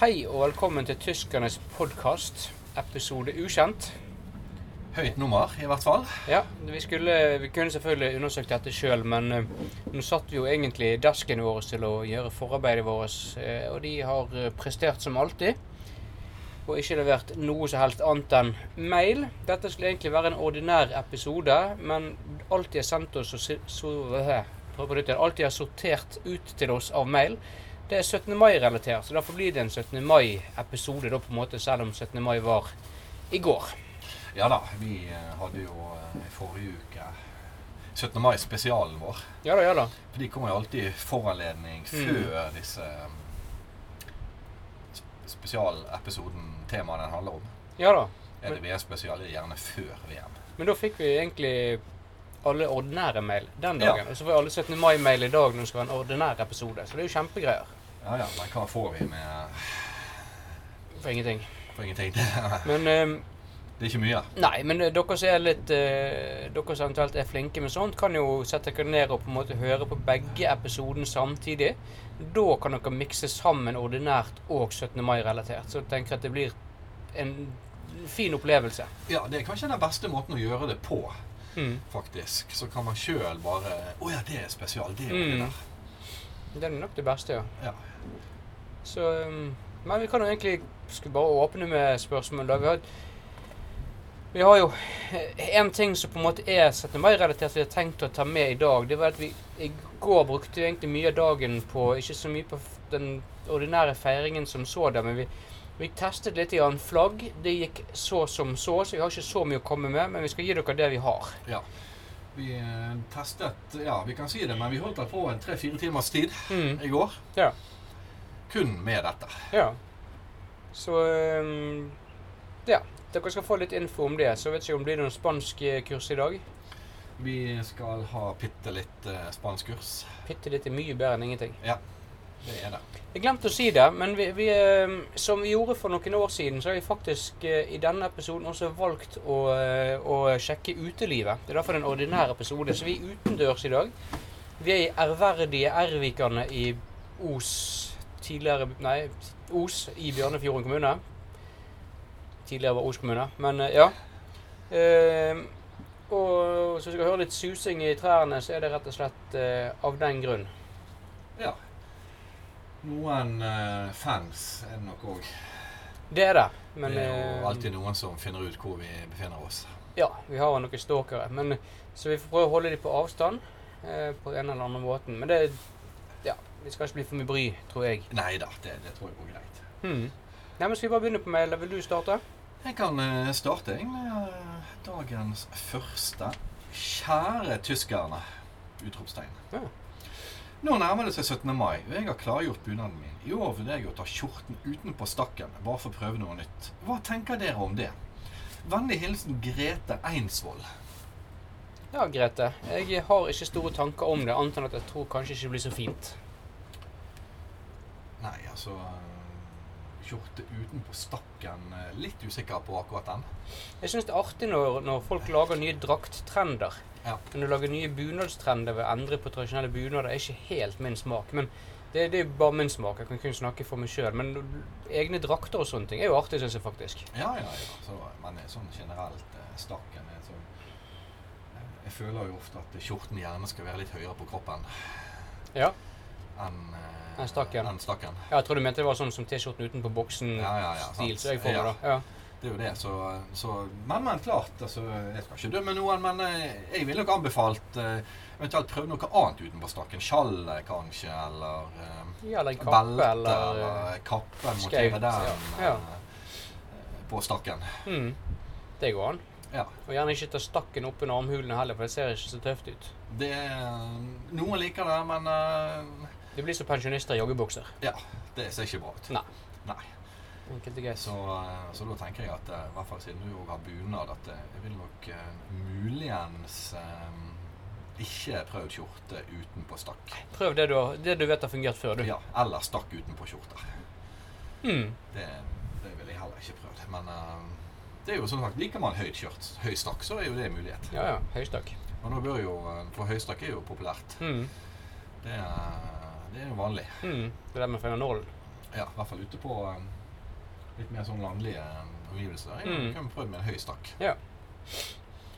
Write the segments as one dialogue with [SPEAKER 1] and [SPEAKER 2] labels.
[SPEAKER 1] Hei og velkommen til Tyskernes podkast, episode ukjent.
[SPEAKER 2] Høyt nummer, i hvert fall.
[SPEAKER 1] Ja, vi, skulle, vi kunne selvfølgelig undersøkt dette sjøl, men eh, nå satt vi jo egentlig dasken vår til å gjøre forarbeidet vårt, eh, og de har eh, prestert som alltid. Og ikke levert noe som helst annet enn mail. Dette skulle egentlig være en ordinær episode, men alt de har sendt oss, og si- så, øh, prøv på nytt igjen. Alt de har sortert ut til oss av mail, det er 17. mai-relatert. Så derfor blir det en 17. mai-episode, da på en måte, selv om 17. mai var i går.
[SPEAKER 2] Ja da, vi eh, hadde jo eh, i forrige uke 17. mai-spesialen vår.
[SPEAKER 1] Ja da, ja da.
[SPEAKER 2] For de kommer jo alltid i foranledning før disse eh, sp- spesialepisoden, temaet den handler om.
[SPEAKER 1] Ja da.
[SPEAKER 2] Er det VM-spesial, er det gjerne før VM.
[SPEAKER 1] Men da fikk vi egentlig alle ordinære mail den dagen. Og så får vi alle 17. mai-mail i dag når det skal være en ordinær episode. Så det er jo kjempegreier.
[SPEAKER 2] Ja ja, men hva får vi med eh,
[SPEAKER 1] For ingenting.
[SPEAKER 2] for ingenting? det
[SPEAKER 1] Men eh,
[SPEAKER 2] er ikke mye.
[SPEAKER 1] nei, men eh, dere som er litt eh, Dere som eventuelt er flinke med sånt, kan jo sette dere ned og på en måte høre på begge episodene samtidig. Da kan dere mikse sammen ordinært og 17. mai-relatert. Så jeg tenker at det blir en fin opplevelse.
[SPEAKER 2] Ja, det er kanskje den beste måten å gjøre det på,
[SPEAKER 1] Mm.
[SPEAKER 2] faktisk. Så kan man sjøl bare Å ja, det er spesial. Det er jo
[SPEAKER 1] Mm.
[SPEAKER 2] det der.
[SPEAKER 1] Det er nok det beste, ja.
[SPEAKER 2] Ja.
[SPEAKER 1] Så, um, men vi kan jo egentlig skulle bare åpne med spørsmål. da. Vi har, vi har jo eh, en ting som på en måte er 17. mai-relatert vi har tenkt å ta med i dag. Det var at vi i går brukte vi egentlig mye av dagen på Ikke så mye på f- den ordinære feiringen som sådan, men vi, vi testet litt grann flagg. Det gikk så som så, så vi har ikke så mye å komme med, men vi skal gi dere det vi har.
[SPEAKER 2] Ja. Vi eh, testet Ja, vi kan si det, men vi holdt vel på en tre-fire timers tid
[SPEAKER 1] Mm.
[SPEAKER 2] i går.
[SPEAKER 1] Ja.
[SPEAKER 2] Kun med dette.
[SPEAKER 1] Ja. Så um, Ja. Dere skal få litt info om det. Så vet ikke om det blir noen spanskkurs i dag.
[SPEAKER 2] Vi skal ha bitte litt eh, spanskkurs.
[SPEAKER 1] Bitte litt er mye bedre enn ingenting.
[SPEAKER 2] Det er det.
[SPEAKER 1] Jeg glemte å si det, men vi, vi, eh, som vi gjorde for noen år siden, så har vi faktisk eh, i denne episoden også valgt å, eh, å sjekke utelivet. Det er derfor det er en ordinær episode. Så vi er utendørs i dag. Vi er i ærverdige Ervikane i Os tidligere Nei, Os i Bjørnefjorden kommune. Tidligere var Os kommune, men eh, ja. Eh, og så skal vi høre litt susing i trærne, så er det rett og slett eh, av den grunn.
[SPEAKER 2] Ja. Noen eh, fans er det nok òg.
[SPEAKER 1] Det er det. Men
[SPEAKER 2] Det er
[SPEAKER 1] eh,
[SPEAKER 2] jo alltid noen som finner ut hvor vi befinner oss.
[SPEAKER 1] Ja, vi har noen stalkere. Men, eh, så vi får prøve å holde dem på avstand eh, på en eller annen måten. Men det ja, vi skal ikke bli for mye bry, tror jeg.
[SPEAKER 2] Nei da, det, det tror jeg går greit.
[SPEAKER 1] Hmm. Nei, men Skal vi bare begynne på mail? Vil du starte?
[SPEAKER 2] Jeg kan eh, starte jeg, med eh, dagens første. Kjære tyskerne! Utropstegn.
[SPEAKER 1] Ja.
[SPEAKER 2] Nå nærmer det seg 17. mai, og jeg har klargjort bunaden min. I år vurderer jeg å ta skjorten utenpå stakken, bare for å prøve noe nytt. Hva tenker dere om det? Vennlig hilsen Grete Einsvoll.
[SPEAKER 1] Ja, Grete. Jeg har ikke store tanker om det, annet enn at jeg tror kanskje ikke det blir så fint.
[SPEAKER 2] Nei, altså eh, Skjorte utenpå stakken. eh, Litt usikker på akkurat den.
[SPEAKER 1] Jeg syns det er artig når, når folk lager nye drakttrender.
[SPEAKER 2] Ja.
[SPEAKER 1] Når du lager nye bunadstrender ved å endre på tradisjonelle bunader, er ikke helt min smak. Men det, det er jo bare min smak. Jeg kan kun snakke for meg sjøl. Men egne drakter og sånne ting er jo artig, syns jeg faktisk.
[SPEAKER 2] Ja, ja, ja. Så, men sånn generelt eh, stakken er sånn eh, Jeg føler jo ofte at skjorten gjerne skal være litt høyere på kroppen
[SPEAKER 1] Ja.
[SPEAKER 2] enn eh,
[SPEAKER 1] Enn stakken.
[SPEAKER 2] enn stakken.
[SPEAKER 1] Ja, jeg tror du mente det var sånn som T-skjorten utenpå boksen-stil.
[SPEAKER 2] Ja, ja, ja, sant.
[SPEAKER 1] så jeg får
[SPEAKER 2] Ja.
[SPEAKER 1] meg da. Ja.
[SPEAKER 2] Det er jo det, så, så Men, men klart. Altså, jeg skal ikke dømme noen, men eh, jeg ville nok anbefalt eh, eventuelt prøve noe annet utenpå stakken. Skjallet, kanskje, eller eh,
[SPEAKER 1] ja, eller en kappe,
[SPEAKER 2] belte,
[SPEAKER 1] eller,
[SPEAKER 2] eller eh, kappe.
[SPEAKER 1] skaut,
[SPEAKER 2] Montere den
[SPEAKER 1] ja.
[SPEAKER 2] eh, på stakken.
[SPEAKER 1] mm, Det går an.
[SPEAKER 2] Ja.
[SPEAKER 1] Og gjerne ikke ta stakken opp under armhulene heller, for det ser ikke så tøft ut.
[SPEAKER 2] Det er, noen liker det, men eh,
[SPEAKER 1] Det blir som pensjonister i joggebukser.
[SPEAKER 2] Ja, det ser ikke bra ut.
[SPEAKER 1] Nei.
[SPEAKER 2] Nei.
[SPEAKER 1] Enkelt og greit.
[SPEAKER 2] Så, eh, så da tenker jeg at eh, i hvert fall siden du òg har bunad, at eh, jeg vil nok eh, muligens eh, ikke prøvd skjorte utenpå stakk.
[SPEAKER 1] Prøv det du, har- det du vet har fungert før, du.
[SPEAKER 2] Ja, eller stakk utenpå skjorter.
[SPEAKER 1] Mm,
[SPEAKER 2] Det, det ville jeg heller ikke prøvd. Men eh, det er jo sånn sagt, liker man høyt skjørt, høy stakk, så er jo det en mulighet.
[SPEAKER 1] ja, ja. Høystakk.
[SPEAKER 2] Og nå bør jo, eh, For høystakk er jo populært. eh,
[SPEAKER 1] Mm,
[SPEAKER 2] Det, er- det er jo vanlig.
[SPEAKER 1] mm. Det der Hmm. med fingernålen.
[SPEAKER 2] Ja, I hvert fall ute på eh, litt mer sånn landlige eh, omgivelser. Jeg
[SPEAKER 1] Mm.
[SPEAKER 2] kan prøve med en høy stakk.
[SPEAKER 1] Ja.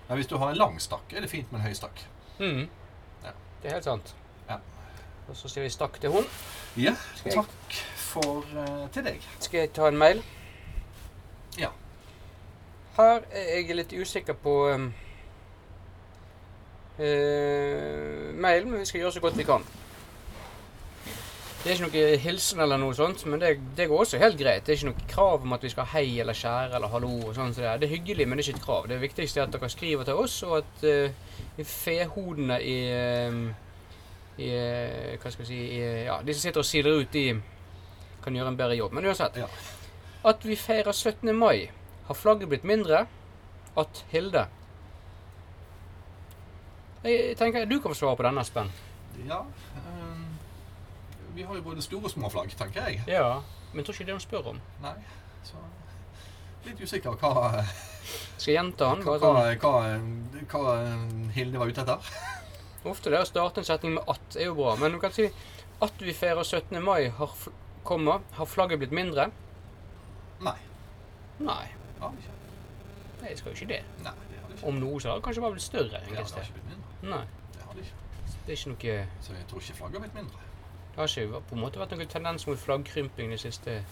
[SPEAKER 2] Men hvis du har en lang stakk, er det fint med en høy stakk.
[SPEAKER 1] Mm.
[SPEAKER 2] Ja.
[SPEAKER 1] Det er helt sant.
[SPEAKER 2] Ja.
[SPEAKER 1] Og så sier vi stakk til hun.
[SPEAKER 2] Ja,
[SPEAKER 1] Skal jeg-
[SPEAKER 2] takk for eh, til deg.
[SPEAKER 1] Skal jeg ta en mail?
[SPEAKER 2] Ja.
[SPEAKER 1] Her er jeg litt usikker på um, eh, mailen, men vi skal gjøre så godt vi kan. Det er ikke noe hilsen eller noe sånt, men det, det går også helt greit. Det er ikke noe krav om at vi skal hei eller kjære eller hallo og sånn. som det, er. det er hyggelig, men det er ikke et krav. Det viktigste er at dere skriver til oss, og at eh, fehodene i, eh, i eh, Hva skal vi si i, Ja, de som sitter og siler ut, de kan gjøre en bedre jobb. Men uansett.
[SPEAKER 2] Ja.
[SPEAKER 1] At vi feirer 17. mai. Har flagget blitt mindre? At Hilde. Jeg tenker Du kan få svare på denne, Spenn.
[SPEAKER 2] Ja eh, Vi har jo både store og små flagg, tenker jeg.
[SPEAKER 1] Ja. Men tror ikke det hun spør om.
[SPEAKER 2] Nei, så Litt usikker hva,
[SPEAKER 1] Skal jeg gjenta den?
[SPEAKER 2] hva,
[SPEAKER 1] Bare
[SPEAKER 2] hva,
[SPEAKER 1] sånn.
[SPEAKER 2] hva, hva eh, Hilde var ute etter.
[SPEAKER 1] sånn, Ofte det å starte en setning med 'at' er jo bra, men du kan si 'at vi feirer 17. mai', har, fl komma, har flagget blitt mindre?
[SPEAKER 2] Nei.
[SPEAKER 1] Nei,
[SPEAKER 2] Ja, ikke.
[SPEAKER 1] nei, det skal jo ikke det.
[SPEAKER 2] Nei, det har det ikke.
[SPEAKER 1] Om noe så har det kanskje bare blitt større.
[SPEAKER 2] Ja,
[SPEAKER 1] egentlig.
[SPEAKER 2] det har ikke blitt mindre.
[SPEAKER 1] Nei,
[SPEAKER 2] Det har det ikke.
[SPEAKER 1] det er ikke noe
[SPEAKER 2] Så jeg tror ikke flagget har blitt mindre.
[SPEAKER 1] Det har ikke vært- på en måte vært noen tendens mot flaggkrymping de siste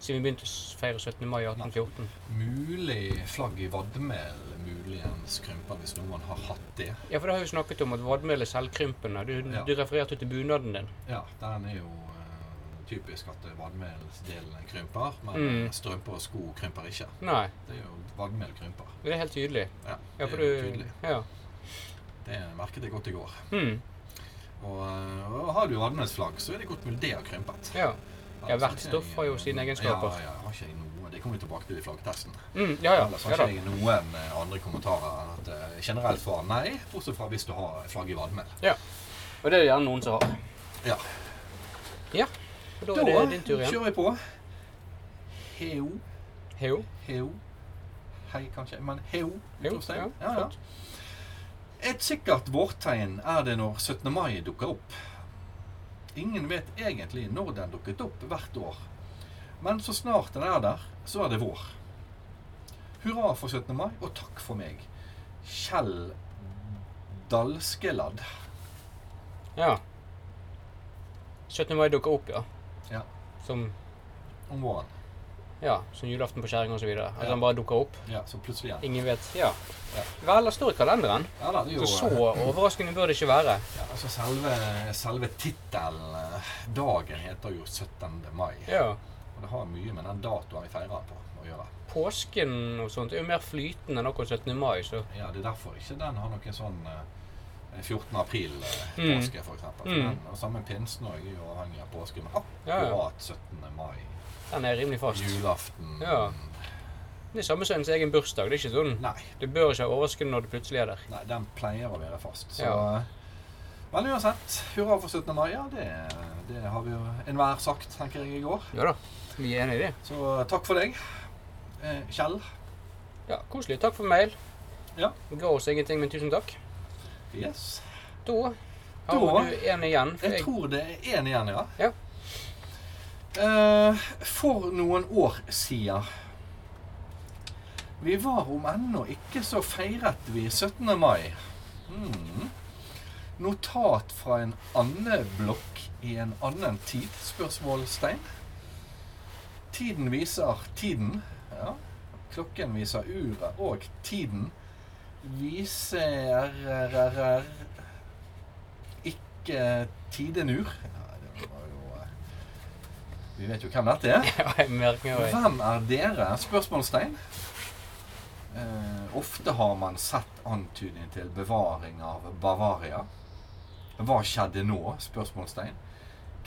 [SPEAKER 1] Siden vi begynte å feire 17. mai 1814.
[SPEAKER 2] Mulig flagg i vadmel muligens krymper hvis noen har hatt det.
[SPEAKER 1] Ja, for det har vi jo snakket om at vadmel er selvkrympende. Du,
[SPEAKER 2] Ja.
[SPEAKER 1] du refererte til bunaden din.
[SPEAKER 2] Ja, den er jo eh, typisk at vadmeldelen krymper, men
[SPEAKER 1] Mm.
[SPEAKER 2] strømper og sko krymper ikke.
[SPEAKER 1] Nei,
[SPEAKER 2] Det er jo vadmel krymper.
[SPEAKER 1] det er helt tydelig.
[SPEAKER 2] Ja,
[SPEAKER 1] Ja,
[SPEAKER 2] det
[SPEAKER 1] for
[SPEAKER 2] er jo
[SPEAKER 1] du
[SPEAKER 2] tydelig.
[SPEAKER 1] Ja.
[SPEAKER 2] Det merket jeg godt i går.
[SPEAKER 1] Mm,
[SPEAKER 2] Og, eh, og har du vadmelsflagg, så er det godt mulig det har krympet.
[SPEAKER 1] ja. Ja,
[SPEAKER 2] Altså,
[SPEAKER 1] hvert
[SPEAKER 2] det er
[SPEAKER 1] stoff har jo
[SPEAKER 2] ingen-
[SPEAKER 1] sine egenskaper.
[SPEAKER 2] Ja, ja, har ikke jeg noe. Det kommer vi tilbake til i flaggtesten.
[SPEAKER 1] Mm, ja, ja.
[SPEAKER 2] Ellers har
[SPEAKER 1] ja da.
[SPEAKER 2] ikke jeg noen eh, andre kommentarer enn at eh, generelt svar nei, bortsett fra hvis du har flagg i vadmel.
[SPEAKER 1] Og det er det gjerne noen som har.
[SPEAKER 2] Ja.
[SPEAKER 1] Ja. og Da
[SPEAKER 2] Da
[SPEAKER 1] er det din tur igjen.
[SPEAKER 2] kjører vi på. Heo,
[SPEAKER 1] Heo.
[SPEAKER 2] heo, hei kanskje, men heo,
[SPEAKER 1] Heo,
[SPEAKER 2] utropstegn.
[SPEAKER 1] ja,
[SPEAKER 2] Ja,
[SPEAKER 1] flott.
[SPEAKER 2] ja. Et sikkert vårtegn er det når 17. mai dukker opp. Ingen vet egentlig når den dukket opp hvert år. Men så snart den er der, så er det vår. Hurra for 17. mai, og takk for meg. Kjell Dalskeladd.
[SPEAKER 1] Ja. 17. mai dukker opp, ja.
[SPEAKER 2] Ja.
[SPEAKER 1] Som
[SPEAKER 2] Om våren.
[SPEAKER 1] ja, som julaften på kjerringa osv. At
[SPEAKER 2] Ja.
[SPEAKER 1] den bare dukker opp.
[SPEAKER 2] Ja, så plutselig igjen.
[SPEAKER 1] Ingen vet. Ja.
[SPEAKER 2] Ja.
[SPEAKER 1] Vel, det står i kalenderen.
[SPEAKER 2] Ja, da, det
[SPEAKER 1] Så
[SPEAKER 2] er jo,
[SPEAKER 1] så
[SPEAKER 2] eh,
[SPEAKER 1] overraskende bør det ikke være.
[SPEAKER 2] Ja, altså selve, selve tittelen eh, Dagen heter jo 17. mai.
[SPEAKER 1] Ja.
[SPEAKER 2] Og det har mye med den datoen vi feirer på å gjøre.
[SPEAKER 1] Påsken og sånt er jo mer flytende enn akkurat 17. mai, så
[SPEAKER 2] Ja, Det er derfor ikke den har noen sånn eh, 14.
[SPEAKER 1] Mm.
[SPEAKER 2] april-påske, for f.eks.
[SPEAKER 1] Mm.
[SPEAKER 2] Og samme pinsen også er jo avhengig av påske. Men
[SPEAKER 1] Ja, ja.
[SPEAKER 2] akkurat 17. mai,
[SPEAKER 1] den er rimelig fast.
[SPEAKER 2] julaften
[SPEAKER 1] Ja. Det er samme som ens egen bursdag. Det er ikke sånn
[SPEAKER 2] Nei,
[SPEAKER 1] Du bør ikke ha overskudd når det plutselig er der.
[SPEAKER 2] nei, den pleier å være fast. Så
[SPEAKER 1] Ja.
[SPEAKER 2] eh, Men uansett, hurra for 17. mai. Ja, det, det har vi jo enhver sagt, tenker jeg, i går.
[SPEAKER 1] Ja da. Vi er enig i det.
[SPEAKER 2] Så eh, takk for deg, eh, Kjell.
[SPEAKER 1] Ja, Koselig. Takk for mail.
[SPEAKER 2] Ja.
[SPEAKER 1] Det ga oss ingenting, men tusen takk.
[SPEAKER 2] Yes.
[SPEAKER 1] Da har
[SPEAKER 2] Da-
[SPEAKER 1] du en igjen. For
[SPEAKER 2] Jeg
[SPEAKER 1] jeg,
[SPEAKER 2] tror det er én igjen, ja.
[SPEAKER 1] Ja.
[SPEAKER 2] Eh, for noen år siden Vi var om ennå ikke så feiret vi 17. mai. Mm. Notat fra en andeblokk i en annen tid? Spørsmålstegn. Tiden viser tiden. Ja. Klokken viser uret, og tiden viser ikke Tidenur. Ja, det var jo eh, Vi vet jo hvem dette er.
[SPEAKER 1] ja, jeg merker jo
[SPEAKER 2] Hvem er dere? Spørsmålstegn. Eh, ofte har man sett antydning til bevaring av Bavaria. Hva skjedde nå? Spørsmålstegn.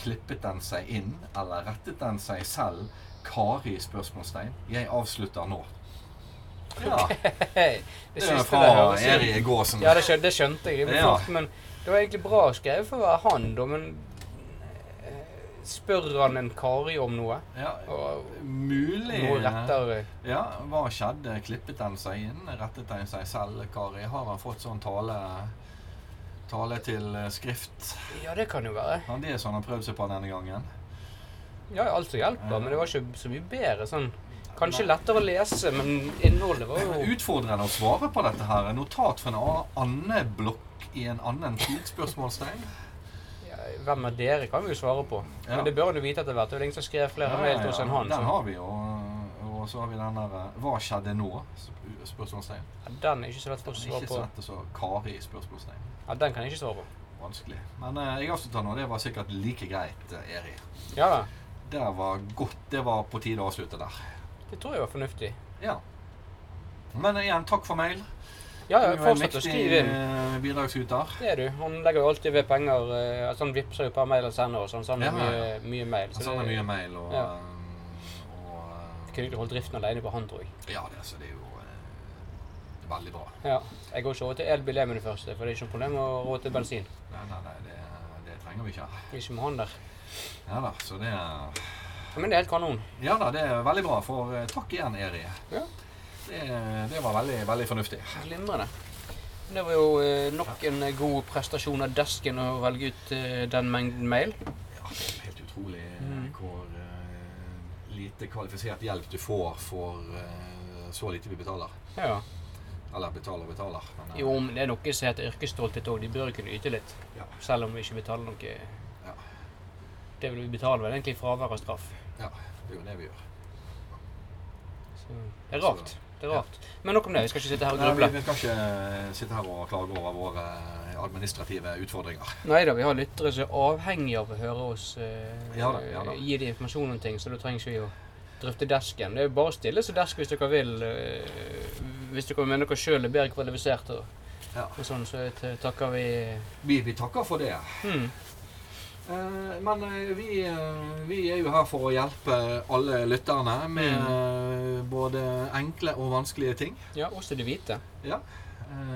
[SPEAKER 2] Klippet den seg inn, eller rettet den seg selv? Kari? Spørsmålstegn. Jeg avslutter nå. Ja,
[SPEAKER 1] Hei,
[SPEAKER 2] det
[SPEAKER 1] Det
[SPEAKER 2] er
[SPEAKER 1] siste der
[SPEAKER 2] fra
[SPEAKER 1] høres jo-
[SPEAKER 2] Erik Aasen.
[SPEAKER 1] Ja, det skjønte, det skjønte jeg. Det
[SPEAKER 2] Ja.
[SPEAKER 1] fort, men det var egentlig bra skrevet for å være han, da, men eh, Spør han en Kari om noe?
[SPEAKER 2] Ja,
[SPEAKER 1] Og
[SPEAKER 2] mulig
[SPEAKER 1] noe rettere
[SPEAKER 2] Ja, hva skjedde? Klippet den seg inn? Rettet den seg selv? Kari, har han fått sånn tale Tale til eh, skrift?
[SPEAKER 1] Ja, det kan jo være.
[SPEAKER 2] Ja, det er sånn han har prøvd seg på denne gangen.
[SPEAKER 1] Ja, alt som hjelper, men det var ikke så mye bedre sånn. Kanskje lettere å lese, men innholdet var jo
[SPEAKER 2] Utfordrende å svare på dette her. En Notat fra en a- annen blokk i en annen tid? Spørsmålstegn.
[SPEAKER 1] ja, Hvem er dere, kan vi jo svare på.
[SPEAKER 2] Ja.
[SPEAKER 1] Men det bør du vite etter hvert. Det er jo ingen som skrev flere
[SPEAKER 2] Ja, ja,
[SPEAKER 1] mail til oss
[SPEAKER 2] ja.
[SPEAKER 1] enn han.
[SPEAKER 2] Den
[SPEAKER 1] Så.
[SPEAKER 2] har vi jo. Og så har vi den der eh, Hva skjedde nå? Sp- Spørsmålstegn.
[SPEAKER 1] Ja, den er ikke så lett
[SPEAKER 2] Den
[SPEAKER 1] å
[SPEAKER 2] er
[SPEAKER 1] svare
[SPEAKER 2] Ikke så
[SPEAKER 1] på.
[SPEAKER 2] lett å så Kari? Spørsmålstegn.
[SPEAKER 1] Ja, den kan jeg ikke svare på.
[SPEAKER 2] Vanskelig. Men eh, jeg avslutter nå. Det var sikkert like greit, eh, Eri.
[SPEAKER 1] Ja da.
[SPEAKER 2] Det var godt. Det var på tide å avslutte der.
[SPEAKER 1] Det tror jeg var fornuftig.
[SPEAKER 2] Ja. Men igjen, takk for mail.
[SPEAKER 1] Ja, ja,
[SPEAKER 2] Du er en
[SPEAKER 1] fortsett å
[SPEAKER 2] mektig,
[SPEAKER 1] skrive inn.
[SPEAKER 2] eh, bidragsyter.
[SPEAKER 1] Det er du. Han legger jo alltid ved penger. eh, Altså han vippser jo et par mail og sender og sånn, så han har
[SPEAKER 2] Ja, ja,
[SPEAKER 1] mye, mye mail.
[SPEAKER 2] Han sender mye mail og,
[SPEAKER 1] Ja.
[SPEAKER 2] eh, og eh,
[SPEAKER 1] Kunne ikke holdt driften alene på han, tror jeg.
[SPEAKER 2] Ja, det, så det er jo eh, veldig bra.
[SPEAKER 1] Ja. Jeg går ikke over til elbil jeg med det første, for det er ikke noe problem å råde til bensin.
[SPEAKER 2] Nei, nei, nei, det, det trenger vi ikke.
[SPEAKER 1] Ikke med han der.
[SPEAKER 2] Ja da, så det er-
[SPEAKER 1] Men det er helt kanon.
[SPEAKER 2] Ja da, det er veldig bra. For eh, takk igjen, Eri.
[SPEAKER 1] Ja.
[SPEAKER 2] Det, det var veldig, veldig fornuftig.
[SPEAKER 1] Glimrende. Det var jo eh, nok en god prestasjon av desken å velge ut eh, den mengden mail.
[SPEAKER 2] Ja, det er helt utrolig eh,
[SPEAKER 1] Mm.
[SPEAKER 2] hvor eh, lite kvalifisert hjelp du får for eh, så lite vi betaler.
[SPEAKER 1] Ja.
[SPEAKER 2] Eller betaler og betaler. Men, eh,
[SPEAKER 1] Jo, men det er noe som heter yrkesstolthet òg. De bør jo kunne yte litt.
[SPEAKER 2] Ja.
[SPEAKER 1] Selv om vi ikke betaler noe
[SPEAKER 2] Ja.
[SPEAKER 1] Det vil vi betale, vel egentlig fravær av straff.
[SPEAKER 2] Det er jo det vi gjør.
[SPEAKER 1] Så det er rart. Det er rart. Men nok om det. Vi skal ikke sitte her og
[SPEAKER 2] Nei, vi,
[SPEAKER 1] gruble.
[SPEAKER 2] vi skal ikke eh, sitte her og klage over våre eh, administrative utfordringer.
[SPEAKER 1] Nei da, vi har lyttere som er avhengige av å høre oss eh,
[SPEAKER 2] Ja da, ja da.
[SPEAKER 1] gi dem informasjon om ting, så da trenger ikke vi å drøfte desken. Det er jo bare å stille seg desk hvis dere vil. Eh, hvis dere mener dere sjøl er bedre kvalifisert og,
[SPEAKER 2] Ja.
[SPEAKER 1] og sånn, så t- takker vi
[SPEAKER 2] Vi, vi takker for det.
[SPEAKER 1] hmm.
[SPEAKER 2] Eh, Men eh, vi, eh, vi er jo her for å hjelpe alle lytterne med eh, både enkle og vanskelige ting.
[SPEAKER 1] Ja, også de hvite.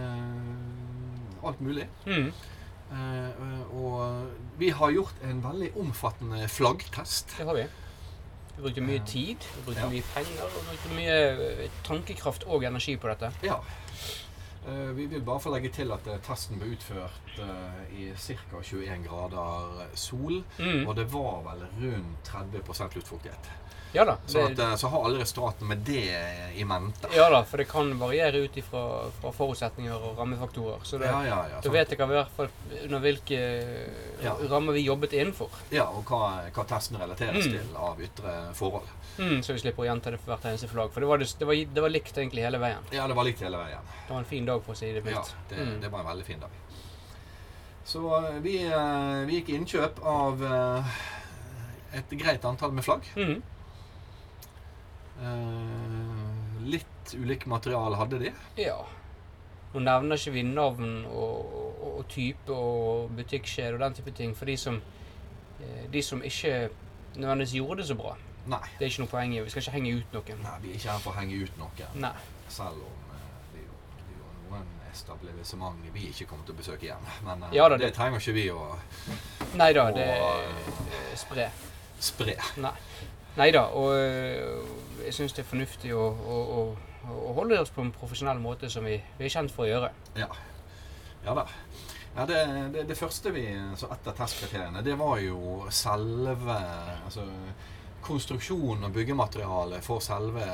[SPEAKER 2] Eh, Alt mulig.
[SPEAKER 1] Hmm.
[SPEAKER 2] Eh, eh, Og vi har gjort en veldig omfattende flaggtest.
[SPEAKER 1] Det har vi. Vi brukte mye tid, vi brukte
[SPEAKER 2] Hmm. Ja.
[SPEAKER 1] mye penger, vi brukte mye eh, tankekraft og energi på dette.
[SPEAKER 2] Ja. Eh, Vi vil bare få legge til at eh, testen ble utført eh, i ca. 21 grader sol.
[SPEAKER 1] Mm.
[SPEAKER 2] Og det var vel rundt 30 luftfuktighet.
[SPEAKER 1] Ja da.
[SPEAKER 2] Så, at,
[SPEAKER 1] Det,
[SPEAKER 2] eh, så har alle restraten med det i mente.
[SPEAKER 1] ja da, for det kan variere ut ifra fra forutsetninger og rammefaktorer. Så det,
[SPEAKER 2] Ja, ja, ja.
[SPEAKER 1] Da
[SPEAKER 2] sant.
[SPEAKER 1] vet dere i hvert fall under hvilke
[SPEAKER 2] Ja.
[SPEAKER 1] rammer vi jobbet innenfor.
[SPEAKER 2] Ja, og hva, hva testen relateres
[SPEAKER 1] Mm.
[SPEAKER 2] til av ytre forhold.
[SPEAKER 1] Hmm, Så vi slipper å gjenta det for hvert eneste flagg. For det var, det var, det var likt egentlig hele veien.
[SPEAKER 2] Ja, det var likt hele veien.
[SPEAKER 1] Det var en fin dag, for å si det
[SPEAKER 2] Ja,
[SPEAKER 1] mildt.
[SPEAKER 2] det,
[SPEAKER 1] Mm.
[SPEAKER 2] det var en veldig fin dag. Så eh, vi, eh, vi gikk i innkjøp av eh, et greit antall med flagg.
[SPEAKER 1] Mm.
[SPEAKER 2] Eh, Litt ulik materiale hadde de.
[SPEAKER 1] ja. Nå nevner ikke vi navn og, og, og type og butikkjede og den type ting for de som, eh, de som ikke nødvendigvis gjorde det så bra.
[SPEAKER 2] Nei,
[SPEAKER 1] Det er ikke noe poeng i. Vi skal ikke henge ut noen.
[SPEAKER 2] nei vi er ikke her for å henge ut noen.
[SPEAKER 1] Nei.
[SPEAKER 2] Selv om eh, det er jo, det er jo noen etablissement vi ikke kommer til å besøke igjen. Men eh,
[SPEAKER 1] Ja da,
[SPEAKER 2] det
[SPEAKER 1] det-
[SPEAKER 2] trenger ikke vi å
[SPEAKER 1] Nei da, det
[SPEAKER 2] Og-
[SPEAKER 1] eh, spre.
[SPEAKER 2] spre.
[SPEAKER 1] Nei. Neida, og øh, jeg syns det er fornuftig å, å, å, å holde oss på en profesjonell måte som vi, vi er kjent for å gjøre.
[SPEAKER 2] Ja da. Ja, det, det, det første vi så etter testkriteriene, det var jo selve altså, konstruksjonen og byggematerialet for selve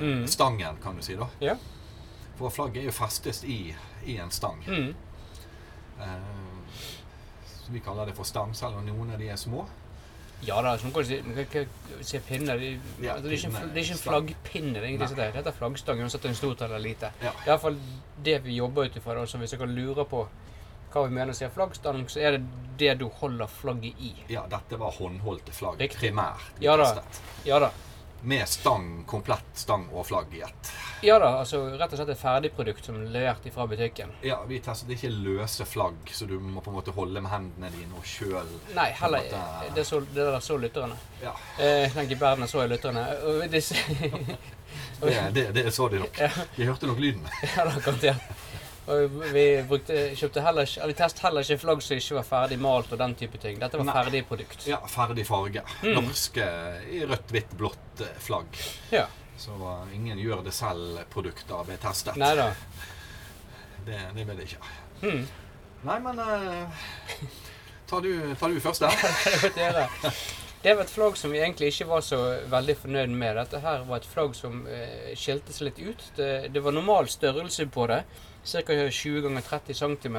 [SPEAKER 1] Mm.
[SPEAKER 2] stangen, kan du si. da.
[SPEAKER 1] Ja.
[SPEAKER 2] For flagget er jo festest i, i en stang.
[SPEAKER 1] Mm.
[SPEAKER 2] Eh, så vi kaller det for stang, selv om noen av de er små.
[SPEAKER 1] Ja da, så nå kan du si, nå kan ikke si pinner. Det,
[SPEAKER 2] Ja,
[SPEAKER 1] altså, det, er ikke, en fl-
[SPEAKER 2] pinne,
[SPEAKER 1] det er ikke en
[SPEAKER 2] stang.
[SPEAKER 1] flaggpinne. Det er egentlig
[SPEAKER 2] Nei.
[SPEAKER 1] det heter. Dette er flaggstang, uansett om det er stort eller lite.
[SPEAKER 2] Ja.
[SPEAKER 1] Det er iallfall det vi jobber ut ifra. da, Så hvis dere lurer på hva vi mener sier flaggstang, så er det det du holder flagget i.
[SPEAKER 2] Ja, dette var håndholdte flagg
[SPEAKER 1] Riktig.
[SPEAKER 2] primært. vi
[SPEAKER 1] Ja da.
[SPEAKER 2] testet.
[SPEAKER 1] Ja da.
[SPEAKER 2] Med stang, komplett stang og flagg i ett.
[SPEAKER 1] Ja da, altså rett og slett et ferdigprodukt som er levert ifra butikken.
[SPEAKER 2] Ja, vi testet ikke løse flagg, så du må på en måte holde med hendene dine og sjøl
[SPEAKER 1] Nei, heller
[SPEAKER 2] Dette-
[SPEAKER 1] Det, så, det der så lytterne.
[SPEAKER 2] Ja.
[SPEAKER 1] Eh, Jeg tenker verden er så i lytterne. Og disse
[SPEAKER 2] Det, det, det så de nok.
[SPEAKER 1] Ja.
[SPEAKER 2] De hørte nok lyden.
[SPEAKER 1] Ja, da, garantert. Og vi brukte, kjøpte heller ikke eller Vi testet heller ikke flagg som ikke var ferdig malt og den type ting. Dette var
[SPEAKER 2] Nei.
[SPEAKER 1] ferdig produkt.
[SPEAKER 2] Ja, ferdig farge.
[SPEAKER 1] Mm.
[SPEAKER 2] Norske i rødt, hvitt, blått eh, flagg.
[SPEAKER 1] Ja.
[SPEAKER 2] Så eh, ingen gjør det selv-produkter ble testet.
[SPEAKER 1] Nei da.
[SPEAKER 2] Det, det ble det ikke.
[SPEAKER 1] Hmm.
[SPEAKER 2] Nei, men eh, tar, du, tar du først der?
[SPEAKER 1] Det, Det var et flagg som vi egentlig ikke var så veldig fornøyd med. Dette her var et flagg som eh, skilte seg litt ut. Det, det var normal størrelse på det. Ca. 20 ganger 30 cm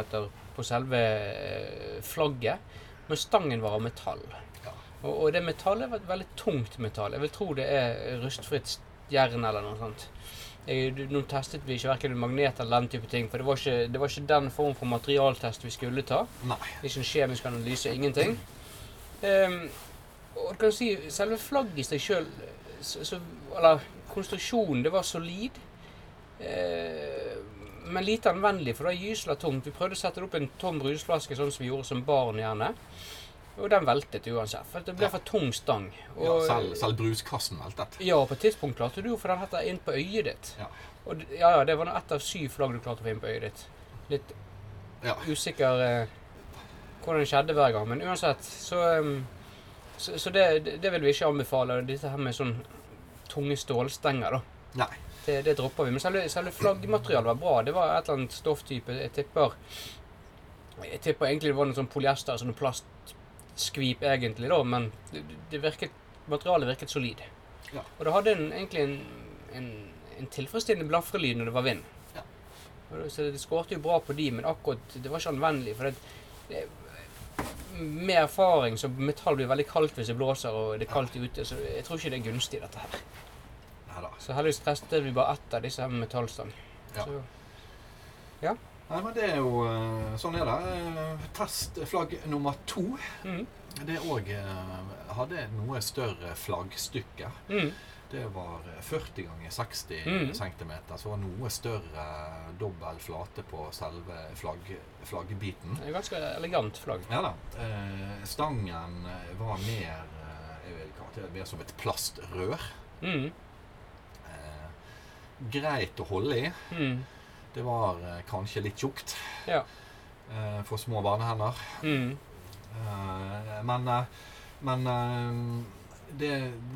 [SPEAKER 1] på selve eh, flagget. Men stangen var av metall.
[SPEAKER 2] Ja.
[SPEAKER 1] Og, og det metallet var et veldig tungt metall. Jeg vil tro det er rustfritt jern eller noe sånt. Jeg, du- nå testet vi ikke verken magnet eller den type ting, for det var ikke, det var ikke den form for materialtest vi skulle ta.
[SPEAKER 2] Nei.
[SPEAKER 1] Ikke en kjemisk analyse, ingenting. Ehm, og du kan si, selve flagget i seg sjøl, eller konstruksjonen, det var solid. eh, men lite anvendelig, for det var gysla tomt. Vi prøvde å sette det opp i en tom rusflaske, sånn som vi gjorde som barn gjerne. Og den veltet uansett. For det ble for tung stang.
[SPEAKER 2] Ja,
[SPEAKER 1] Og,
[SPEAKER 2] selv, selv bruskassen veltet.
[SPEAKER 1] ja, og på et tidspunkt klarte du å få den dette inn på øyet ditt.
[SPEAKER 2] Ja.
[SPEAKER 1] Og d- ja, ja, det var nå ett av syv flagg du klarte å få inn på øyet ditt. Litt
[SPEAKER 2] Ja.
[SPEAKER 1] usikker eh, hvordan det skjedde hver gang, men uansett, så ehm, Så, så det, det det vil vi ikke anbefale, dette her med sånn tunge stålstenger, da.
[SPEAKER 2] Nei.
[SPEAKER 1] Det, det dropper vi. Men selve, selve flaggmaterialet var bra. Det var et eller annet stofftype. Jeg tipper Jeg tipper egentlig det var noe sånn polyester, sånn plastskvip egentlig, da, men det, det virket Materialet virket solid.
[SPEAKER 2] Ja.
[SPEAKER 1] Og det hadde en, egentlig en, en, en tilfredsstillende blafrelyd når det var vind.
[SPEAKER 2] Ja.
[SPEAKER 1] Og det- Så det skårte jo bra på de, men akkurat det var ikke anvendelig. For det, det, med erfaring så metall blir veldig kaldt hvis det blåser og det er kaldt ute, så jeg tror ikke det er gunstig, dette her.
[SPEAKER 2] Neida.
[SPEAKER 1] Så heldigvis testet vi bare ett av disse her med metallstang.
[SPEAKER 2] Ja.
[SPEAKER 1] Så,
[SPEAKER 2] Nei, men det er jo eh, Sånn er det. Eh, Testflagg nummer to.
[SPEAKER 1] mm,
[SPEAKER 2] Det òg hadde et noe større flaggstykke.
[SPEAKER 1] mm,
[SPEAKER 2] Det var eh, 40 ganger 60
[SPEAKER 1] Mm.
[SPEAKER 2] cm, så var noe større eh, dobbel flate på selve flagg, flaggbiten.
[SPEAKER 1] det er ganske elegant flagg.
[SPEAKER 2] Ja da. Eh, Stangen eh, var mer eh, Jeg vil karakterisere det mer som et plastrør.
[SPEAKER 1] Mm,
[SPEAKER 2] Eh, Greit å holde i.
[SPEAKER 1] mm,
[SPEAKER 2] Det var eh, kanskje litt tjukt
[SPEAKER 1] ja.
[SPEAKER 2] eh, for små barnehender.
[SPEAKER 1] Mm,
[SPEAKER 2] Eh, men eh, men eh, det,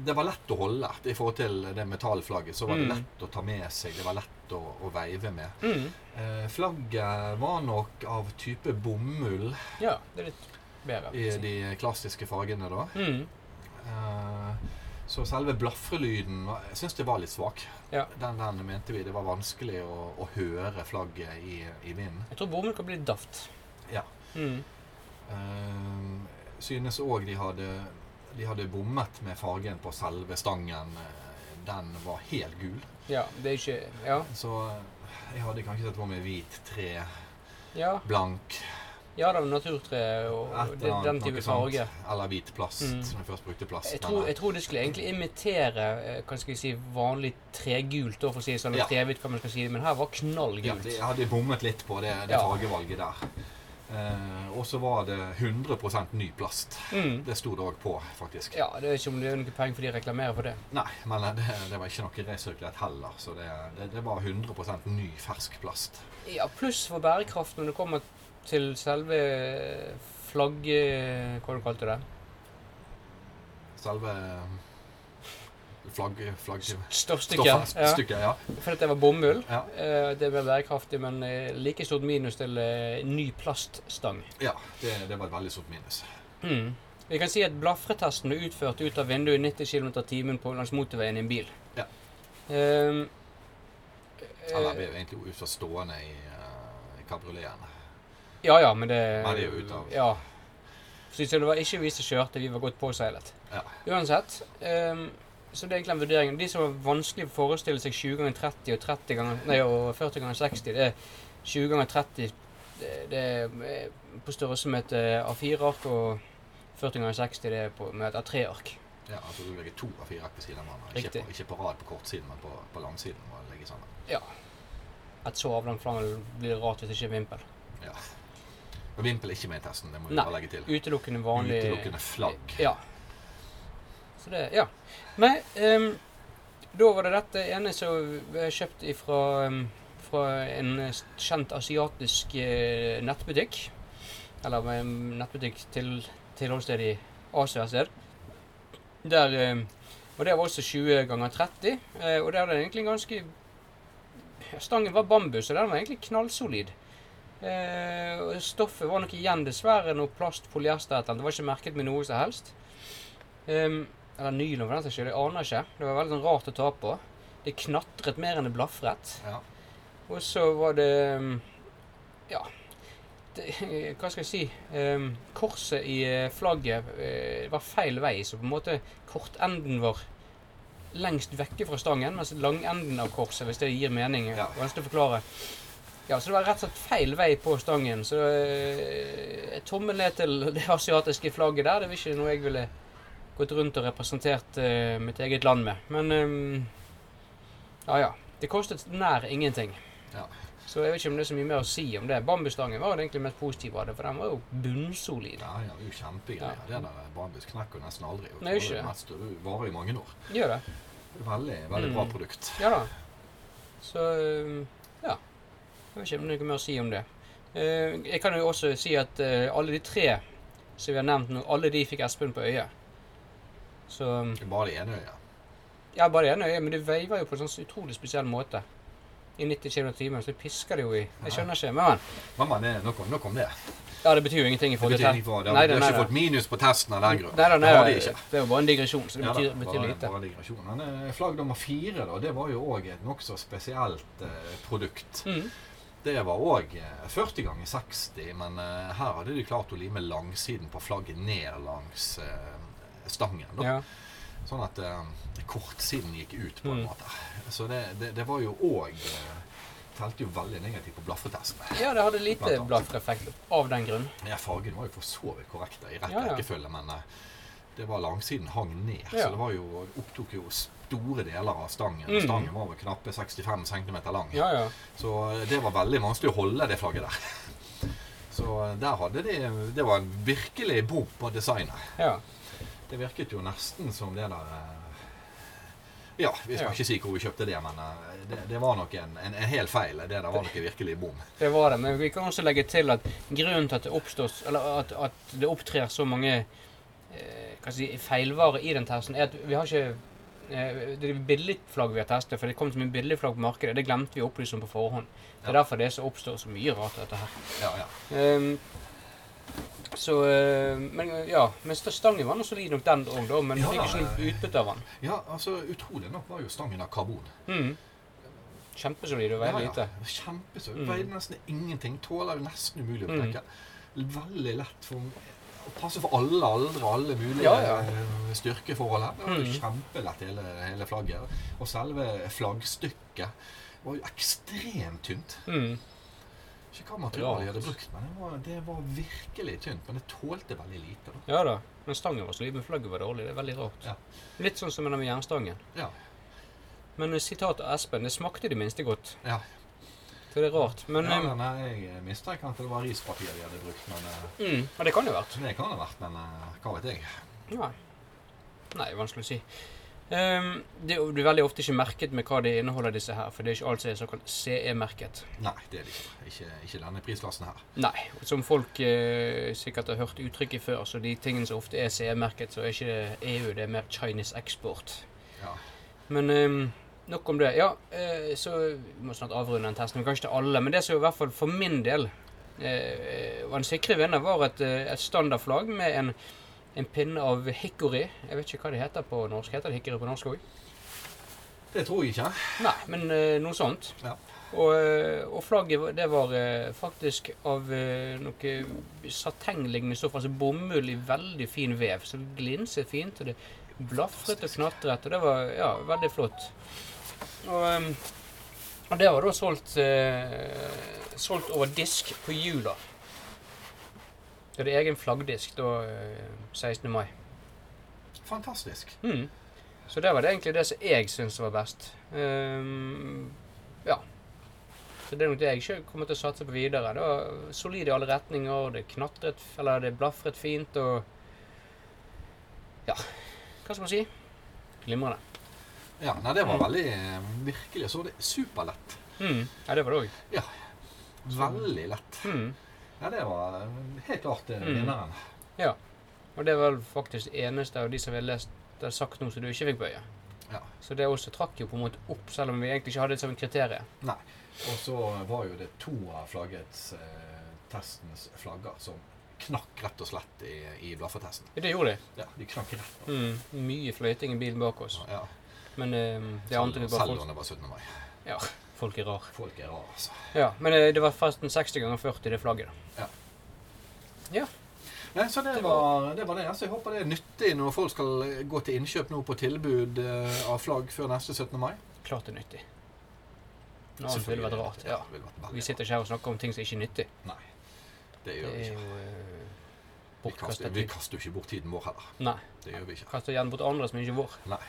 [SPEAKER 2] det var lett å holde i forhold til det metallflagget. Så var det
[SPEAKER 1] Mm.
[SPEAKER 2] lett å ta med seg, det var lett å, å veive med.
[SPEAKER 1] mm,
[SPEAKER 2] Eh, flagget var nok av type bomull
[SPEAKER 1] ja, det er litt bedre.
[SPEAKER 2] i eh, de klassiske fargene, da.
[SPEAKER 1] Mm,
[SPEAKER 2] Eh, så selve blafrelyden var- Jeg syns det var litt svak.
[SPEAKER 1] Ja.
[SPEAKER 2] Den, den mente vi det var vanskelig å, å høre flagget i, i vinden.
[SPEAKER 1] jeg tror bomull kan bli litt daft.
[SPEAKER 2] Ja.
[SPEAKER 1] Mm.
[SPEAKER 2] Ehm, synes òg de hadde de hadde bommet med fargen på selve stangen. Eh, Den var helt gul.
[SPEAKER 1] Ja, det er ikke Ja.
[SPEAKER 2] Så eh, jeg hadde kanskje sett på med hvit tre,
[SPEAKER 1] Ja,
[SPEAKER 2] blank
[SPEAKER 1] ja det var naturtre og
[SPEAKER 2] et
[SPEAKER 1] og det,
[SPEAKER 2] eller annet,
[SPEAKER 1] den
[SPEAKER 2] noe
[SPEAKER 1] type
[SPEAKER 2] sånt.
[SPEAKER 1] farge.
[SPEAKER 2] Eller hvit plast,
[SPEAKER 1] Mm.
[SPEAKER 2] som jeg først brukte plast.
[SPEAKER 1] Jeg tror,
[SPEAKER 2] men-
[SPEAKER 1] jeg tror det skulle egentlig imitere eh, hva skal jeg si, vanlig tregult, da, for å si det sånn, eller
[SPEAKER 2] Ja.
[SPEAKER 1] trehvitt, hva man skal si, men her var
[SPEAKER 2] ja,
[SPEAKER 1] knallgult.
[SPEAKER 2] det- eh, jeg hadde bommet litt på det, det
[SPEAKER 1] Ja.
[SPEAKER 2] fargevalget der. Eh, og så var det 100 ny plast.
[SPEAKER 1] Mm.
[SPEAKER 2] Det sto det òg på, faktisk.
[SPEAKER 1] Ja, det er ikke om det er noe poeng for de reklamerer for det.
[SPEAKER 2] Nei, men det, det var ikke noe resirkulert heller. Så det, det, det var 100 ny, fersk plast.
[SPEAKER 1] Ja, pluss for bærekraft når det kommer til selve flagg... Hva du kalte du det?
[SPEAKER 2] Selve flagg... flagg
[SPEAKER 1] Stoffstykket.
[SPEAKER 2] stoffet,
[SPEAKER 1] Ja,
[SPEAKER 2] stykket, ja.
[SPEAKER 1] fordi det var bomull.
[SPEAKER 2] Ja.
[SPEAKER 1] Eh, Det ble bærekraftig, men eh, like stort minus til eh, ny plaststang.
[SPEAKER 2] ja det, det var et veldig stort minus.
[SPEAKER 1] Mm. Vi kan si at blafretesten er utført ut av vinduet i 90 km i timen på langs motorveien i en bil.
[SPEAKER 2] Ja.
[SPEAKER 1] Ehm,
[SPEAKER 2] Eller
[SPEAKER 1] eh,
[SPEAKER 2] ble jo egentlig utsatt stående i eh, i kabrioleten.
[SPEAKER 1] ja, ja, men det
[SPEAKER 2] Nei, det er jo ut av-
[SPEAKER 1] Ja. Så det var ikke vi som kjørte, vi var godt påseilet.
[SPEAKER 2] Ja.
[SPEAKER 1] Uansett. ehm, så det er egentlig en vurdering. De som var vanskelig å forestille seg 20 ganger 30 og 30 ganger, nei, og 40 ganger 60, det er 20 ganger 30 det, det er på størrelse med et eh, A4-ark, og 40 ganger 60 det er på, med et A3-ark.
[SPEAKER 2] Ja, altså du legger to av fire ark ved siden av hverandre. Ikke,
[SPEAKER 1] Riktig.
[SPEAKER 2] på- ikke på rad på kortsiden, men på, på langsiden. må jeg legge sammen.
[SPEAKER 1] Et så avlangt flangel blir rart hvis det ikke er vimpel.
[SPEAKER 2] Og Vimpel er ikke med i testen, det må vi
[SPEAKER 1] Nei.
[SPEAKER 2] bare legge til.
[SPEAKER 1] Utelukkende vanlig
[SPEAKER 2] Utelukkende flagg.
[SPEAKER 1] Ja. Så det Ja. Nei, ehm, da var det dette ene som jeg kjøpte ifra ehm, fra en s- kjent asiatisk eh, nettbutikk. Eller en nettbutikk til tilholdssted i Asia et sted. Der ehm, Og det var også 20 ganger 30. eh, Og der er det egentlig ganske Stangen var bambus, og den var egentlig knallsolid. Eh, og stoffet var nok igjen dessverre noe plast, polyester et eller annet. Det var ikke merket med noe som helst. Ehm, eller nylon, for den saks skyld. Jeg aner ikke. Det var veldig sånn rart å ta på. Det knatret mer enn det blafret.
[SPEAKER 2] Ja.
[SPEAKER 1] Og så var det ehm, Ja. Det, hva skal jeg si? Ehm, korset i eh, flagget eh, var feil vei, så på en måte kortenden var lengst vekke fra stangen, mens langenden av korset, hvis det gir mening,
[SPEAKER 2] Ja.
[SPEAKER 1] vanskelig å forklare. Ja, så det var rett og slett feil vei på stangen. Så eh, tommel ned til det asiatiske flagget der. Det var ikke noe jeg ville gått rundt og representert eh, mitt eget land med. Men ehm, ja, ja. Det kostet nær ingenting.
[SPEAKER 2] Ja.
[SPEAKER 1] Så jeg vet ikke om det er så mye mer å si om det. Bambusstangen var jo det egentlig mest positive av det, for den var jo bunnsolid.
[SPEAKER 2] Ja, ja, det er jo kjempegreier. Det der bambus knekker jo nesten aldri. Og
[SPEAKER 1] Nei, ikke.
[SPEAKER 2] det meste- det varer i mange år.
[SPEAKER 1] Gjør det.
[SPEAKER 2] Veldig, veldig bra
[SPEAKER 1] Mm.
[SPEAKER 2] produkt.
[SPEAKER 1] Ja da. Så ehm, ja. Jeg vet ikke om det er noe mer å si om det. Eh, Jeg kan jo også si at eh, alle de tre som vi har nevnt nå, alle de fikk Espen på øyet. Så ehm,
[SPEAKER 2] Det er Bare det ene øyet.
[SPEAKER 1] Ja, bare det ene øyet, men det veiver jo på en sånn utrolig spesiell måte. I 90 km i timen, så det pisker det jo i. Jeg skjønner ikke. Men, men.
[SPEAKER 2] Men, men det- nok om, nok om det.
[SPEAKER 1] Ja, det betyr jo ingenting i
[SPEAKER 2] Det
[SPEAKER 1] forhold
[SPEAKER 2] betyr
[SPEAKER 1] til
[SPEAKER 2] ikke for, det,
[SPEAKER 1] Nei, nei,
[SPEAKER 2] det har
[SPEAKER 1] nei,
[SPEAKER 2] ikke fått minus på testen av den grunn.
[SPEAKER 1] Nei, nei, nei,
[SPEAKER 2] det har de ikke.
[SPEAKER 1] det er jo bare en digresjon, så det
[SPEAKER 2] Ja da,
[SPEAKER 1] betyr, betyr
[SPEAKER 2] bare-
[SPEAKER 1] lite.
[SPEAKER 2] Bare digresjon. Men eh, flagg nummer fire, da, det var jo òg et nokså spesielt eh, produkt.
[SPEAKER 1] Mm.
[SPEAKER 2] Det var òg eh, 40 ganger 60, men eh, her hadde de klart å lime langsiden på flagget ned langs eh, stangen. Da.
[SPEAKER 1] Ja.
[SPEAKER 2] Sånn at eh, kortsiden gikk ut, på en
[SPEAKER 1] Mm.
[SPEAKER 2] måte. Så det, det, det var jo òg eh, Telte jo veldig negativt på blaffetesten.
[SPEAKER 1] ja, det hadde lite
[SPEAKER 2] Blant annet.
[SPEAKER 1] blaffereffekt av den grunn.
[SPEAKER 2] Ja, fargen var jo for så vidt korrekt da, i rett
[SPEAKER 1] Ja, ja.
[SPEAKER 2] rekkefølge, men eh, det var langsiden hang ned.
[SPEAKER 1] Ja.
[SPEAKER 2] Så det var jo, opptok jo store deler av stangen.
[SPEAKER 1] Mm.
[SPEAKER 2] Stangen var vel knappe 65 cm lang.
[SPEAKER 1] Ja, ja.
[SPEAKER 2] Så eh, det var veldig vanskelig å holde det flagget der. Så eh, der hadde de Det var en virkelig bom på designet.
[SPEAKER 1] ja.
[SPEAKER 2] Det virket jo nesten som det der eh, Ja, vi skal
[SPEAKER 1] Ja.
[SPEAKER 2] ikke si hvor vi kjøpte det, men eh, det, det var nok en, en, en hel feil. Det der var nok en virkelig bom.
[SPEAKER 1] Det var det, men vi kan også legge til at grunnen til at det oppstår, eller at, at det opptrer så mange eh, hva skal jeg si, feilvarer i den testen, er at vi har ikke eh, det er billigflagg vi har testet, for det kom så mye billigflagg på markedet. Det glemte vi å opplyse om på forhånd. Det er
[SPEAKER 2] Ja.
[SPEAKER 1] derfor det er så oppstår så mye rart, dette her.
[SPEAKER 2] Ja, ja.
[SPEAKER 1] Ehm, så eh, Men ja, men st- stangen var nå solid nok, den òg, da, men
[SPEAKER 2] Ja,
[SPEAKER 1] fikk ikke
[SPEAKER 2] da.
[SPEAKER 1] noe utbytte av den.
[SPEAKER 2] ja altså, utrolig nok var jo stangen av karbon.
[SPEAKER 1] Mm. Kjempesolid og veldig lite.
[SPEAKER 2] Kjempesøt.
[SPEAKER 1] Mm.
[SPEAKER 2] Veide nesten ingenting. Tåler det nesten umulig å
[SPEAKER 1] Mm.
[SPEAKER 2] knekke. Veldig lett for å passe for alle aldre, alle mulige
[SPEAKER 1] Ja, ja.
[SPEAKER 2] eh, styrkeforhold her. Det var
[SPEAKER 1] Mm.
[SPEAKER 2] Kjempelett hele, hele flagget. Og selve flaggstykket var jo ekstremt tynt.
[SPEAKER 1] Mm.
[SPEAKER 2] Ikke hva materialet de
[SPEAKER 1] Rart.
[SPEAKER 2] hadde brukt, men det var, det var virkelig tynt. Men det tålte veldig lite. da.
[SPEAKER 1] Ja da. Men stangen var solid, men flagget var dårlig. Det er veldig rart.
[SPEAKER 2] Ja.
[SPEAKER 1] Litt sånn som den med jernstangen.
[SPEAKER 2] Ja.
[SPEAKER 1] Men eh, sitat av Espen, det smakte i det minste godt.
[SPEAKER 2] ja.
[SPEAKER 1] Så det er rart. Men
[SPEAKER 2] ja
[SPEAKER 1] eh,
[SPEAKER 2] men jeg mistenker at det var rispapir de hadde brukt. Men eh,
[SPEAKER 1] mm, ja, det kan jo vært.
[SPEAKER 2] det kan det ha vært, men eh, hva vet jeg.
[SPEAKER 1] Ja. Nei, vanskelig å si. Ehm, det er jo- det er veldig ofte ikke merket med hva det inneholder, disse her. For det er ikke alt som er såkalt CE-merket.
[SPEAKER 2] Nei, det er det ikke. Ikke, ikke denne prisklassen her.
[SPEAKER 1] Nei. og Som folk eh, sikkert har hørt uttrykket før, så de tingene som ofte er CE-merket, så er ikke det EU, det er mer Chinese export.
[SPEAKER 2] Ja.
[SPEAKER 1] Men ehm, nok om det. Ja, eh, så vi må snart avrunde den testen. Vi kan ikke til alle, men det som i hvert fall for min del eh, var en sikre vinner, var et, eh, et standardflagg med en, en pinne av hickory. Jeg vet ikke hva det heter på norsk. Heter det hickory på norsk òg?
[SPEAKER 2] Det tror jeg ikke.
[SPEAKER 1] Nei, men eh, noe sånt.
[SPEAKER 2] Ja.
[SPEAKER 1] Og, eh, og flagget var- det var eh, faktisk av eh, noe satenglignende stoff, altså bomull i veldig fin vev. Så det glinset fint, og det blafret og knatret, og det var ja, veldig flott. Og, eh, og det var da solgt, eh, solgt over disk på jula. Det er egen flaggdisk da eh, 16. mai.
[SPEAKER 2] Fantastisk.
[SPEAKER 1] Mm. Så det var det egentlig det som jeg syns var best. Ehm, ja. Så det er nok det jeg ikke kommer til å satse på videre. Det var solid i alle retninger, og det knatret Eller det blafret fint, og Ja. Hva skal man si? Glimrende.
[SPEAKER 2] Ja, nei, det var
[SPEAKER 1] Mm.
[SPEAKER 2] veldig eh, Virkelig så det superlett.
[SPEAKER 1] Mm. Ja, det var det òg.
[SPEAKER 2] Veldig lett.
[SPEAKER 1] Mm.
[SPEAKER 2] Ja, det var eh, helt klart eh,
[SPEAKER 1] Mm.
[SPEAKER 2] vinneren.
[SPEAKER 1] Og det er vel faktisk det eneste av de som vi har lest det er sagt noe som du ikke fikk bøye.
[SPEAKER 2] Ja.
[SPEAKER 1] Så det også trakk jo på en måte opp, selv om vi egentlig ikke hadde det som en kriterium.
[SPEAKER 2] Og så var jo det to av flaggets eh, testens flagger som knakk rett og slett i, i blaffetesten.
[SPEAKER 1] Det gjorde de.
[SPEAKER 2] Ja, de knakk rett.
[SPEAKER 1] Mm, mye fløyting i bilen bak oss.
[SPEAKER 2] Ja.
[SPEAKER 1] Men eh, det ante vi bare
[SPEAKER 2] Selv
[SPEAKER 1] folk
[SPEAKER 2] om det var 17. mai.
[SPEAKER 1] Ja, folk er rar.
[SPEAKER 2] Folk er rare, altså.
[SPEAKER 1] Ja, Men eh, det var forresten 60 ganger 40, det flagget. da.
[SPEAKER 2] Nei, så det
[SPEAKER 1] Det
[SPEAKER 2] var det. Var det. Altså, jeg håper det er nyttig når folk skal eh, gå til innkjøp nå på tilbud eh, av flagg før neste 17. mai.
[SPEAKER 1] Klart det er nyttig. Noe annet ville vært rart. ja.
[SPEAKER 2] det ville vært
[SPEAKER 1] Vi
[SPEAKER 2] veldig
[SPEAKER 1] sitter ikke her og snakker om ting som ikke er nyttig.
[SPEAKER 2] rart. Nei, det
[SPEAKER 1] Det
[SPEAKER 2] gjør vi
[SPEAKER 1] er
[SPEAKER 2] ikke.
[SPEAKER 1] jo eh,
[SPEAKER 2] Vi kaster,
[SPEAKER 1] bortkastet
[SPEAKER 2] vi
[SPEAKER 1] tid.
[SPEAKER 2] kaster jo ikke bort tiden vår heller.
[SPEAKER 1] Nei.
[SPEAKER 2] Det gjør vi ikke.
[SPEAKER 1] Kaster gjerne bort andre som ikke er vår.
[SPEAKER 2] Nei.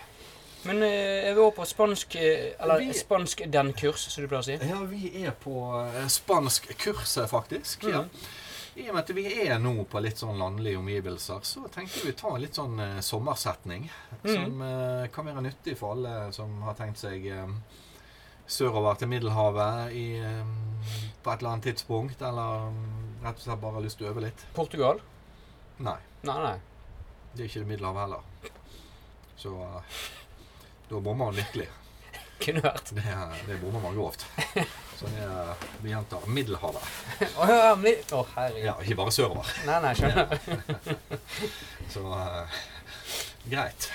[SPEAKER 1] Men eh, er vi over på spansk eh, Eller
[SPEAKER 2] Vi-
[SPEAKER 1] spansk den kurs, som du pleier å si?
[SPEAKER 2] Ja, vi er på eh, spanskkurset, faktisk. Ja.
[SPEAKER 1] Mhm.
[SPEAKER 2] I og med at vi er nå på litt sånn landlige omgivelser, så tenkte vi ta en litt sånn eh, sommersetning.
[SPEAKER 1] Mhm.
[SPEAKER 2] Som eh, kan være nyttig for alle som har tenkt seg eh, sørover til Middelhavet i, eh, på et eller annet tidspunkt. Eller mm, rett og slett bare har lyst til å øve litt.
[SPEAKER 1] Portugal?
[SPEAKER 2] Nei,
[SPEAKER 1] Nei, nei.
[SPEAKER 2] det er ikke Middelhavet heller. Så eh, da bommer man virkelig.
[SPEAKER 1] Kunne vært.
[SPEAKER 2] Det, er- det bommer man grovt. Så det, er- vi gjentar Middelhavet.
[SPEAKER 1] Å ja, mi... Å, herregud.
[SPEAKER 2] Ja, ikke bare sørover.
[SPEAKER 1] Nei, nei, skjønner.
[SPEAKER 2] Så eh, greit.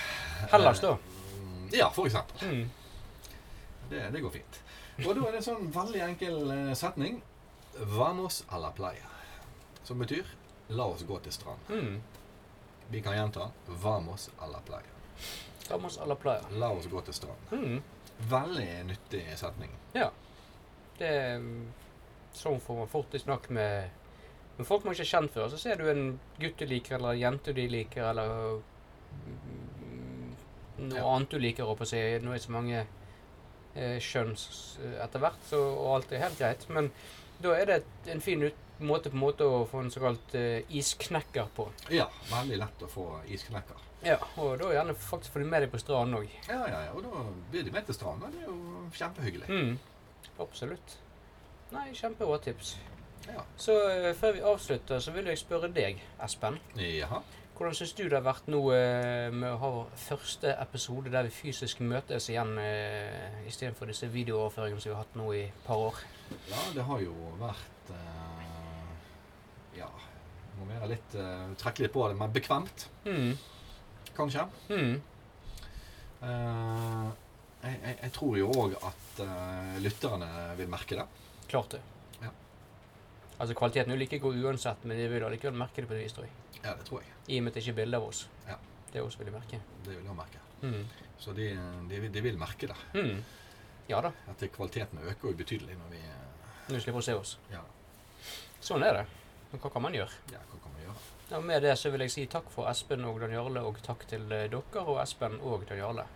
[SPEAKER 1] Hellas, da.
[SPEAKER 2] Mm, Ja, for eksempel.
[SPEAKER 1] Mm.
[SPEAKER 2] Det, det går fint. Og da er det en sånn veldig enkel eh, setning. Vamos a la playa. Som betyr la oss gå til strand.
[SPEAKER 1] Mm.
[SPEAKER 2] Vi kan gjenta vamos a la playa.
[SPEAKER 1] Ramos à la playa.
[SPEAKER 2] La oss gå til strand.
[SPEAKER 1] Mm.
[SPEAKER 2] Veldig nyttig setning.
[SPEAKER 1] Det er mm, Sånn får man fort i snakk med med folk man ikke har kjent før. Så ser du en gutt du liker, eller en jente du liker, eller mm, noe
[SPEAKER 2] Ja.
[SPEAKER 1] annet du liker. holdt på å si. Nå er det så mange eh, kjønn s- etter hvert, så, og alt er helt greit. Men da er det et- en fin ut, måte på en måte å få en såkalt eh, isknekker på.
[SPEAKER 2] Ja, veldig lett å få isknekker.
[SPEAKER 1] Ja, Og da gjerne faktisk få de med deg på stranden òg.
[SPEAKER 2] Ja, ja, ja, og da blir de med til stranden. og Det er jo kjempehyggelig.
[SPEAKER 1] Mm. Absolutt. Nei, kjempebra tips.
[SPEAKER 2] Ja.
[SPEAKER 1] Så eh, før vi avslutter, så vil jeg spørre deg, Espen.
[SPEAKER 2] Jaha.
[SPEAKER 1] Hvordan syns du det har vært nå eh, med å ha vår første episode der vi fysisk møtes igjen, eh, istedenfor disse videooverføringene som vi har hatt nå i et par år?
[SPEAKER 2] Ja, det har jo vært eh, Ja, må være litt eh, Trekke litt på det, men bekvemt,
[SPEAKER 1] Mm.
[SPEAKER 2] kanskje.
[SPEAKER 1] Mm.
[SPEAKER 2] Eh, jeg, jeg, jeg tror jo òg at eh, lytterne vil merke det.
[SPEAKER 1] Klart det.
[SPEAKER 2] Ja.
[SPEAKER 1] Altså Kvaliteten er jo like god uansett, men de vil allikevel merke det på et vis, tror jeg.
[SPEAKER 2] Ja, det tror jeg.
[SPEAKER 1] I og med at det ikke er bilde av oss.
[SPEAKER 2] Ja.
[SPEAKER 1] Det også vil de merke.
[SPEAKER 2] Det vil jeg merke.
[SPEAKER 1] Mm.
[SPEAKER 2] Så de, de, vil- de vil merke det.
[SPEAKER 1] Mm. Ja da,
[SPEAKER 2] At det- kvaliteten øker jo betydelig når vi eh,
[SPEAKER 1] nå slipper å se oss.
[SPEAKER 2] Ja,
[SPEAKER 1] Sånn er det. Men hva kan man gjøre?
[SPEAKER 2] ja hva kan vi gjøre?
[SPEAKER 1] Ja, med det så vil jeg si takk for Espen og Dan Jarle, og takk til eh, dere og Espen og Dan Jarle.